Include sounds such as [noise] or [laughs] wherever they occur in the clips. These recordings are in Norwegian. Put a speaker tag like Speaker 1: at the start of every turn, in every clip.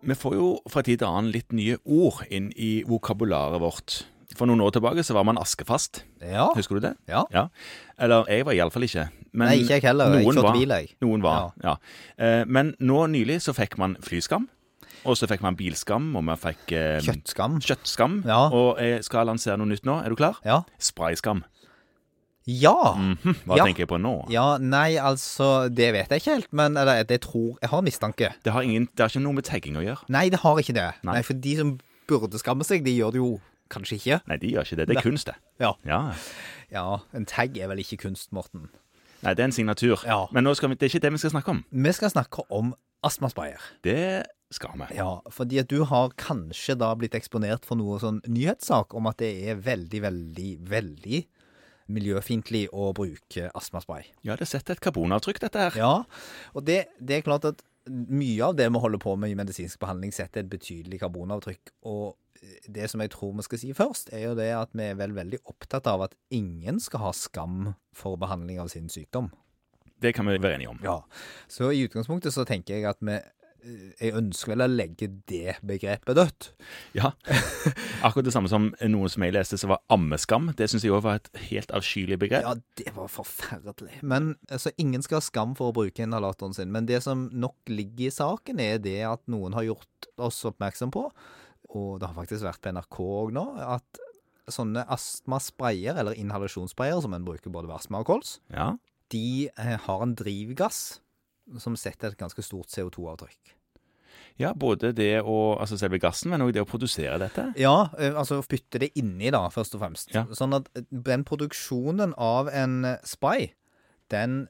Speaker 1: Vi får jo fra tid til annen litt nye ord inn i vokabularet vårt. For noen år tilbake så var man askefast.
Speaker 2: Ja.
Speaker 1: Husker du det?
Speaker 2: ja.
Speaker 1: Ja. Eller jeg var iallfall ikke. Men
Speaker 2: Nei, ikke jeg heller. Jeg kjørte
Speaker 1: var,
Speaker 2: bil, jeg.
Speaker 1: Noen var, ja. Eh, Men nå nylig så fikk man flyskam. Og så fikk man bilskam, og man fikk eh,
Speaker 2: Kjøttskam.
Speaker 1: kjøttskam.
Speaker 2: Ja.
Speaker 1: Og jeg skal lansere noe nytt nå. Er du klar?
Speaker 2: Ja.
Speaker 1: Sprayskam.
Speaker 2: Ja.
Speaker 1: Mhm, Hva
Speaker 2: Ja.
Speaker 1: tenker jeg på nå?
Speaker 2: ja. Nei, altså Det vet jeg ikke helt, men eller, det tror Jeg har en mistanke.
Speaker 1: Det, har ingen, det har ikke noe med tagging å gjøre.
Speaker 2: Nei, det har ikke det.
Speaker 1: Nei.
Speaker 2: Nei, for de som burde skamme seg, de gjør det jo kanskje ikke.
Speaker 1: Nei, de gjør ikke det. Det er kunst, det.
Speaker 2: Ja.
Speaker 1: Ja.
Speaker 2: ja. En tag er vel ikke kunst, Morten.
Speaker 1: Nei, det er en signatur.
Speaker 2: Ja.
Speaker 1: Men nå skal vi, det er ikke det vi skal snakke om.
Speaker 2: Vi skal snakke om astmasprayer.
Speaker 1: Det skal vi.
Speaker 2: Ja, fordi at du har kanskje da blitt eksponert for noe sånn nyhetssak om at det er veldig, veldig, veldig miljøfiendtlig å bruke astmaspray.
Speaker 1: Ja, det setter et karbonavtrykk, dette her.
Speaker 2: Ja, og det, det er klart at mye av det vi holder på med i medisinsk behandling setter et betydelig karbonavtrykk, og det som jeg tror vi skal si først, er jo det at vi er vel veldig opptatt av at ingen skal ha skam for behandling av sin sykdom.
Speaker 1: Det kan vi være enige om.
Speaker 2: Ja, så i utgangspunktet så tenker jeg at vi eh, jeg ønsker vel å legge det begrepet dødt.
Speaker 1: Ja. [laughs] Akkurat det samme som noen som jeg leste som var ammeskam. Det syns jeg òg var et helt avskyelig begrep.
Speaker 2: Ja, det var forferdelig. Men altså, Ingen skal ha skam for å bruke inhalatoren sin, men det som nok ligger i saken, er det at noen har gjort oss oppmerksom på, og det har faktisk vært på NRK òg nå, at sånne astmasprayer, eller inhalasjonssprayer, som en bruker både ved astma og kols,
Speaker 1: Ja.
Speaker 2: de eh, har en drivgass som setter et ganske stort CO2-avtrykk.
Speaker 1: ja, både det å Altså selve gassen, men òg det å produsere dette.
Speaker 2: Ja, eh, altså bytte det inni da, først og fremst.
Speaker 1: Ja.
Speaker 2: Sånn at eh, den produksjonen av en eh, spy, den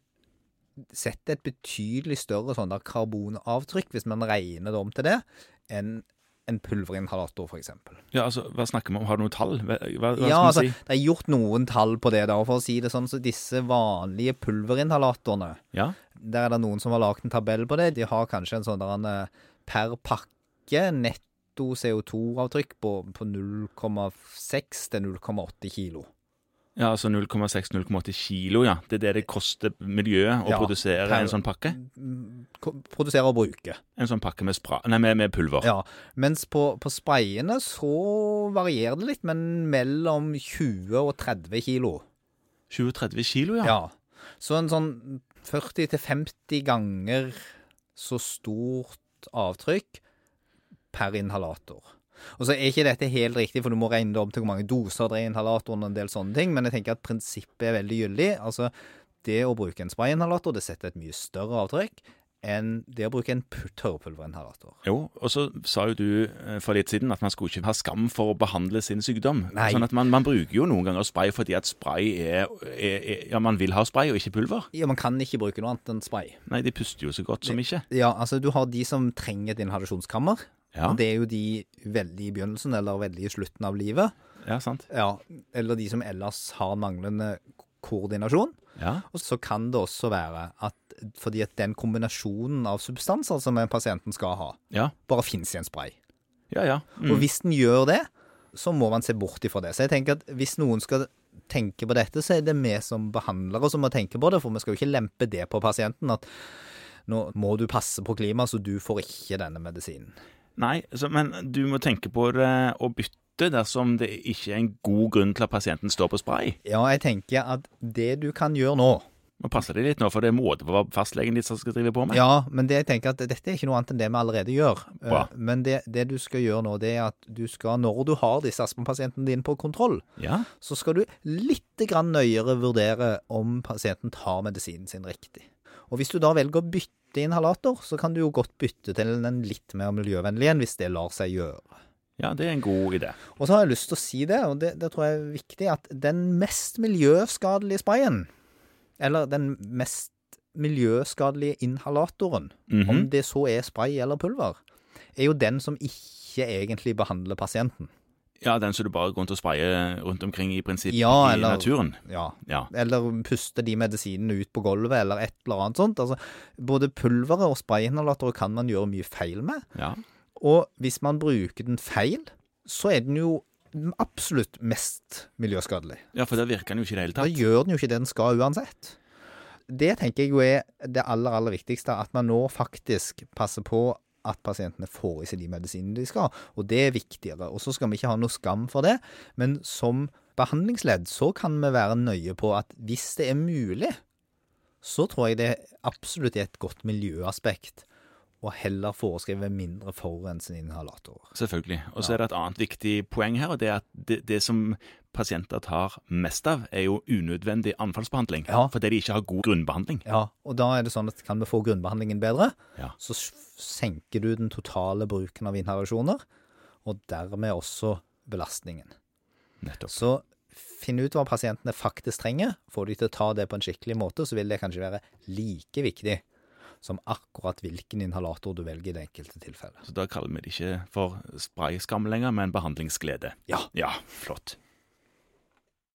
Speaker 2: setter et betydelig større sånn der karbonavtrykk, hvis man regner det om til det, enn en pulverinhalator, for eksempel.
Speaker 1: Ja, altså, Hva snakker vi om? Har du noe tall? Hva, hva, hva
Speaker 2: Ja, altså,
Speaker 1: skal vi si?
Speaker 2: det er gjort noen tall på det, da, og for å si det sånn, så disse vanlige pulverinhalatorene,
Speaker 1: Ja.
Speaker 2: der er det noen som har lagd en tabell på det. De har kanskje en sånn der en, eh, per pakke netto CO2-avtrykk på, på 0,6 til 0,8 kilo.
Speaker 1: ja, altså 0,6-0,8 kilo, ja. Det er det det koster miljøet å
Speaker 2: Ja,
Speaker 1: produsere
Speaker 2: per-
Speaker 1: en sånn pakke?
Speaker 2: Ko- Produsere og bruke.
Speaker 1: En sånn pakke med, spra nei, med, med pulver.
Speaker 2: Ja. Mens på, på sprayene så varierer det litt, men mellom 20 og 30 kilo.
Speaker 1: 20-30 kilo, ja.
Speaker 2: Ja. Så en sånn 40 til 50 ganger så stort avtrykk per inhalator. Og så er ikke dette helt riktig, for du må regne det om til hvor mange doser det er i inhalatoren og en del sånne ting, men jeg tenker at prinsippet er veldig gyldig. Altså, det å bruke en sprayinhalator, det setter et mye større avtrykk enn det å bruke en pu- tørrpulverinhalator.
Speaker 1: Jo, og så sa jo du eh, for litt siden at man skulle ikke ha skam for å behandle sin sykdom.
Speaker 2: Nei.
Speaker 1: Sånn at man, man bruker jo noen ganger spray fordi at spray er, er, er Ja, man vil ha spray og ikke pulver.
Speaker 2: Ja, man kan ikke bruke noe annet enn spray.
Speaker 1: Nei, de puster jo så godt som ikke.
Speaker 2: Ja, altså du har de som trenger et inhalasjonskammer,
Speaker 1: Ja.
Speaker 2: og det er jo de veldig i begynnelsen eller veldig i slutten av livet.
Speaker 1: Ja, sant.
Speaker 2: Ja, eller de som ellers har manglende koordinasjon.
Speaker 1: Ja.
Speaker 2: Og så kan det også være at fordi at den kombinasjonen av substanser som pasienten skal ha,
Speaker 1: Ja,
Speaker 2: bare fins i en spray.
Speaker 1: ja. ja. Mm.
Speaker 2: Og hvis den gjør det, så må man se bort ifra det. Så jeg tenker at hvis noen skal tenke på dette, så er det vi som behandlere som må tenke på det, for vi skal jo ikke lempe det på pasienten at nå må du passe på klimaet, så du får ikke denne medisinen.
Speaker 1: Nei, så, men du må tenke på det å bytte dersom det ikke er en god grunn til at pasienten står på spray.
Speaker 2: Ja, jeg tenker at det du kan gjøre nå,
Speaker 1: Nå passer det litt nå, for det er måte på hva fastlegen ditt skal drive på med.
Speaker 2: Ja, men det jeg tenker at dette er ikke noe annet enn det vi allerede gjør. Eh,
Speaker 1: Bra.
Speaker 2: Men det, det du skal gjøre nå, det er at du skal, når du har disse astmapasientene dine på kontroll,
Speaker 1: Ja.
Speaker 2: så skal du litt grann nøyere vurdere om pasienten tar medisinen sin riktig. Og hvis du da velger å bytte inhalator, så kan du jo godt bytte til en litt mer miljøvennlig en, hvis det lar seg gjøre.
Speaker 1: ja, det er en god idé.
Speaker 2: Og så har jeg lyst til å si det, og det, det tror jeg er viktig, at den mest miljøskadelige sprayen, eller den mest miljøskadelige inhalatoren,
Speaker 1: Mhm.
Speaker 2: om det så er spray eller pulver, er jo den som ikke egentlig behandler pasienten.
Speaker 1: Ja, den som du bare går rundt og sprayer rundt omkring i prinsippet
Speaker 2: Ja,
Speaker 1: i
Speaker 2: eller-
Speaker 1: naturen.
Speaker 2: Ja.
Speaker 1: Ja.
Speaker 2: Eller puster de medisinene ut på gulvet, eller et eller annet sånt. Altså, både pulveret og sprayinhalatorer kan man gjøre mye feil med.
Speaker 1: ja.
Speaker 2: Og hvis man bruker den feil, så er den jo absolutt mest miljøskadelig.
Speaker 1: Ja, for der virker den jo ikke i det hele
Speaker 2: Da
Speaker 1: tatt.
Speaker 2: gjør den jo ikke det den skal uansett. Det tenker jeg jo er det aller, aller viktigste, at man nå faktisk passer på at pasientene får i seg de medisinene de skal. Og det er viktigere. Og så skal vi ikke ha noe skam for det. Men som behandlingsledd så kan vi være nøye på at hvis det er mulig, så tror jeg det absolutt er et godt miljøaspekt å heller foreskrive mindre forurensende inhalatorer.
Speaker 1: Selvfølgelig. Og så er det et annet viktig poeng her, og det er at det, det som pasienter tar mest av, er jo unødvendig anfallsbehandling.
Speaker 2: Ja.
Speaker 1: Fordi de ikke har god grunnbehandling.
Speaker 2: Ja, og da er det sånn at kan vi få grunnbehandlingen bedre,
Speaker 1: Ja.
Speaker 2: så s- senker du den totale bruken av inhalasjoner, og dermed også belastningen.
Speaker 1: Nettopp.
Speaker 2: Så finn ut hva pasientene faktisk trenger. Får de til å ta det på en skikkelig måte, så vil det kanskje være like viktig som akkurat hvilken inhalator du velger i det enkelte tilfellet.
Speaker 1: Så da kaller vi det ikke for sprayskam lenger, men behandlingsglede.
Speaker 2: Ja.
Speaker 1: Ja, flott.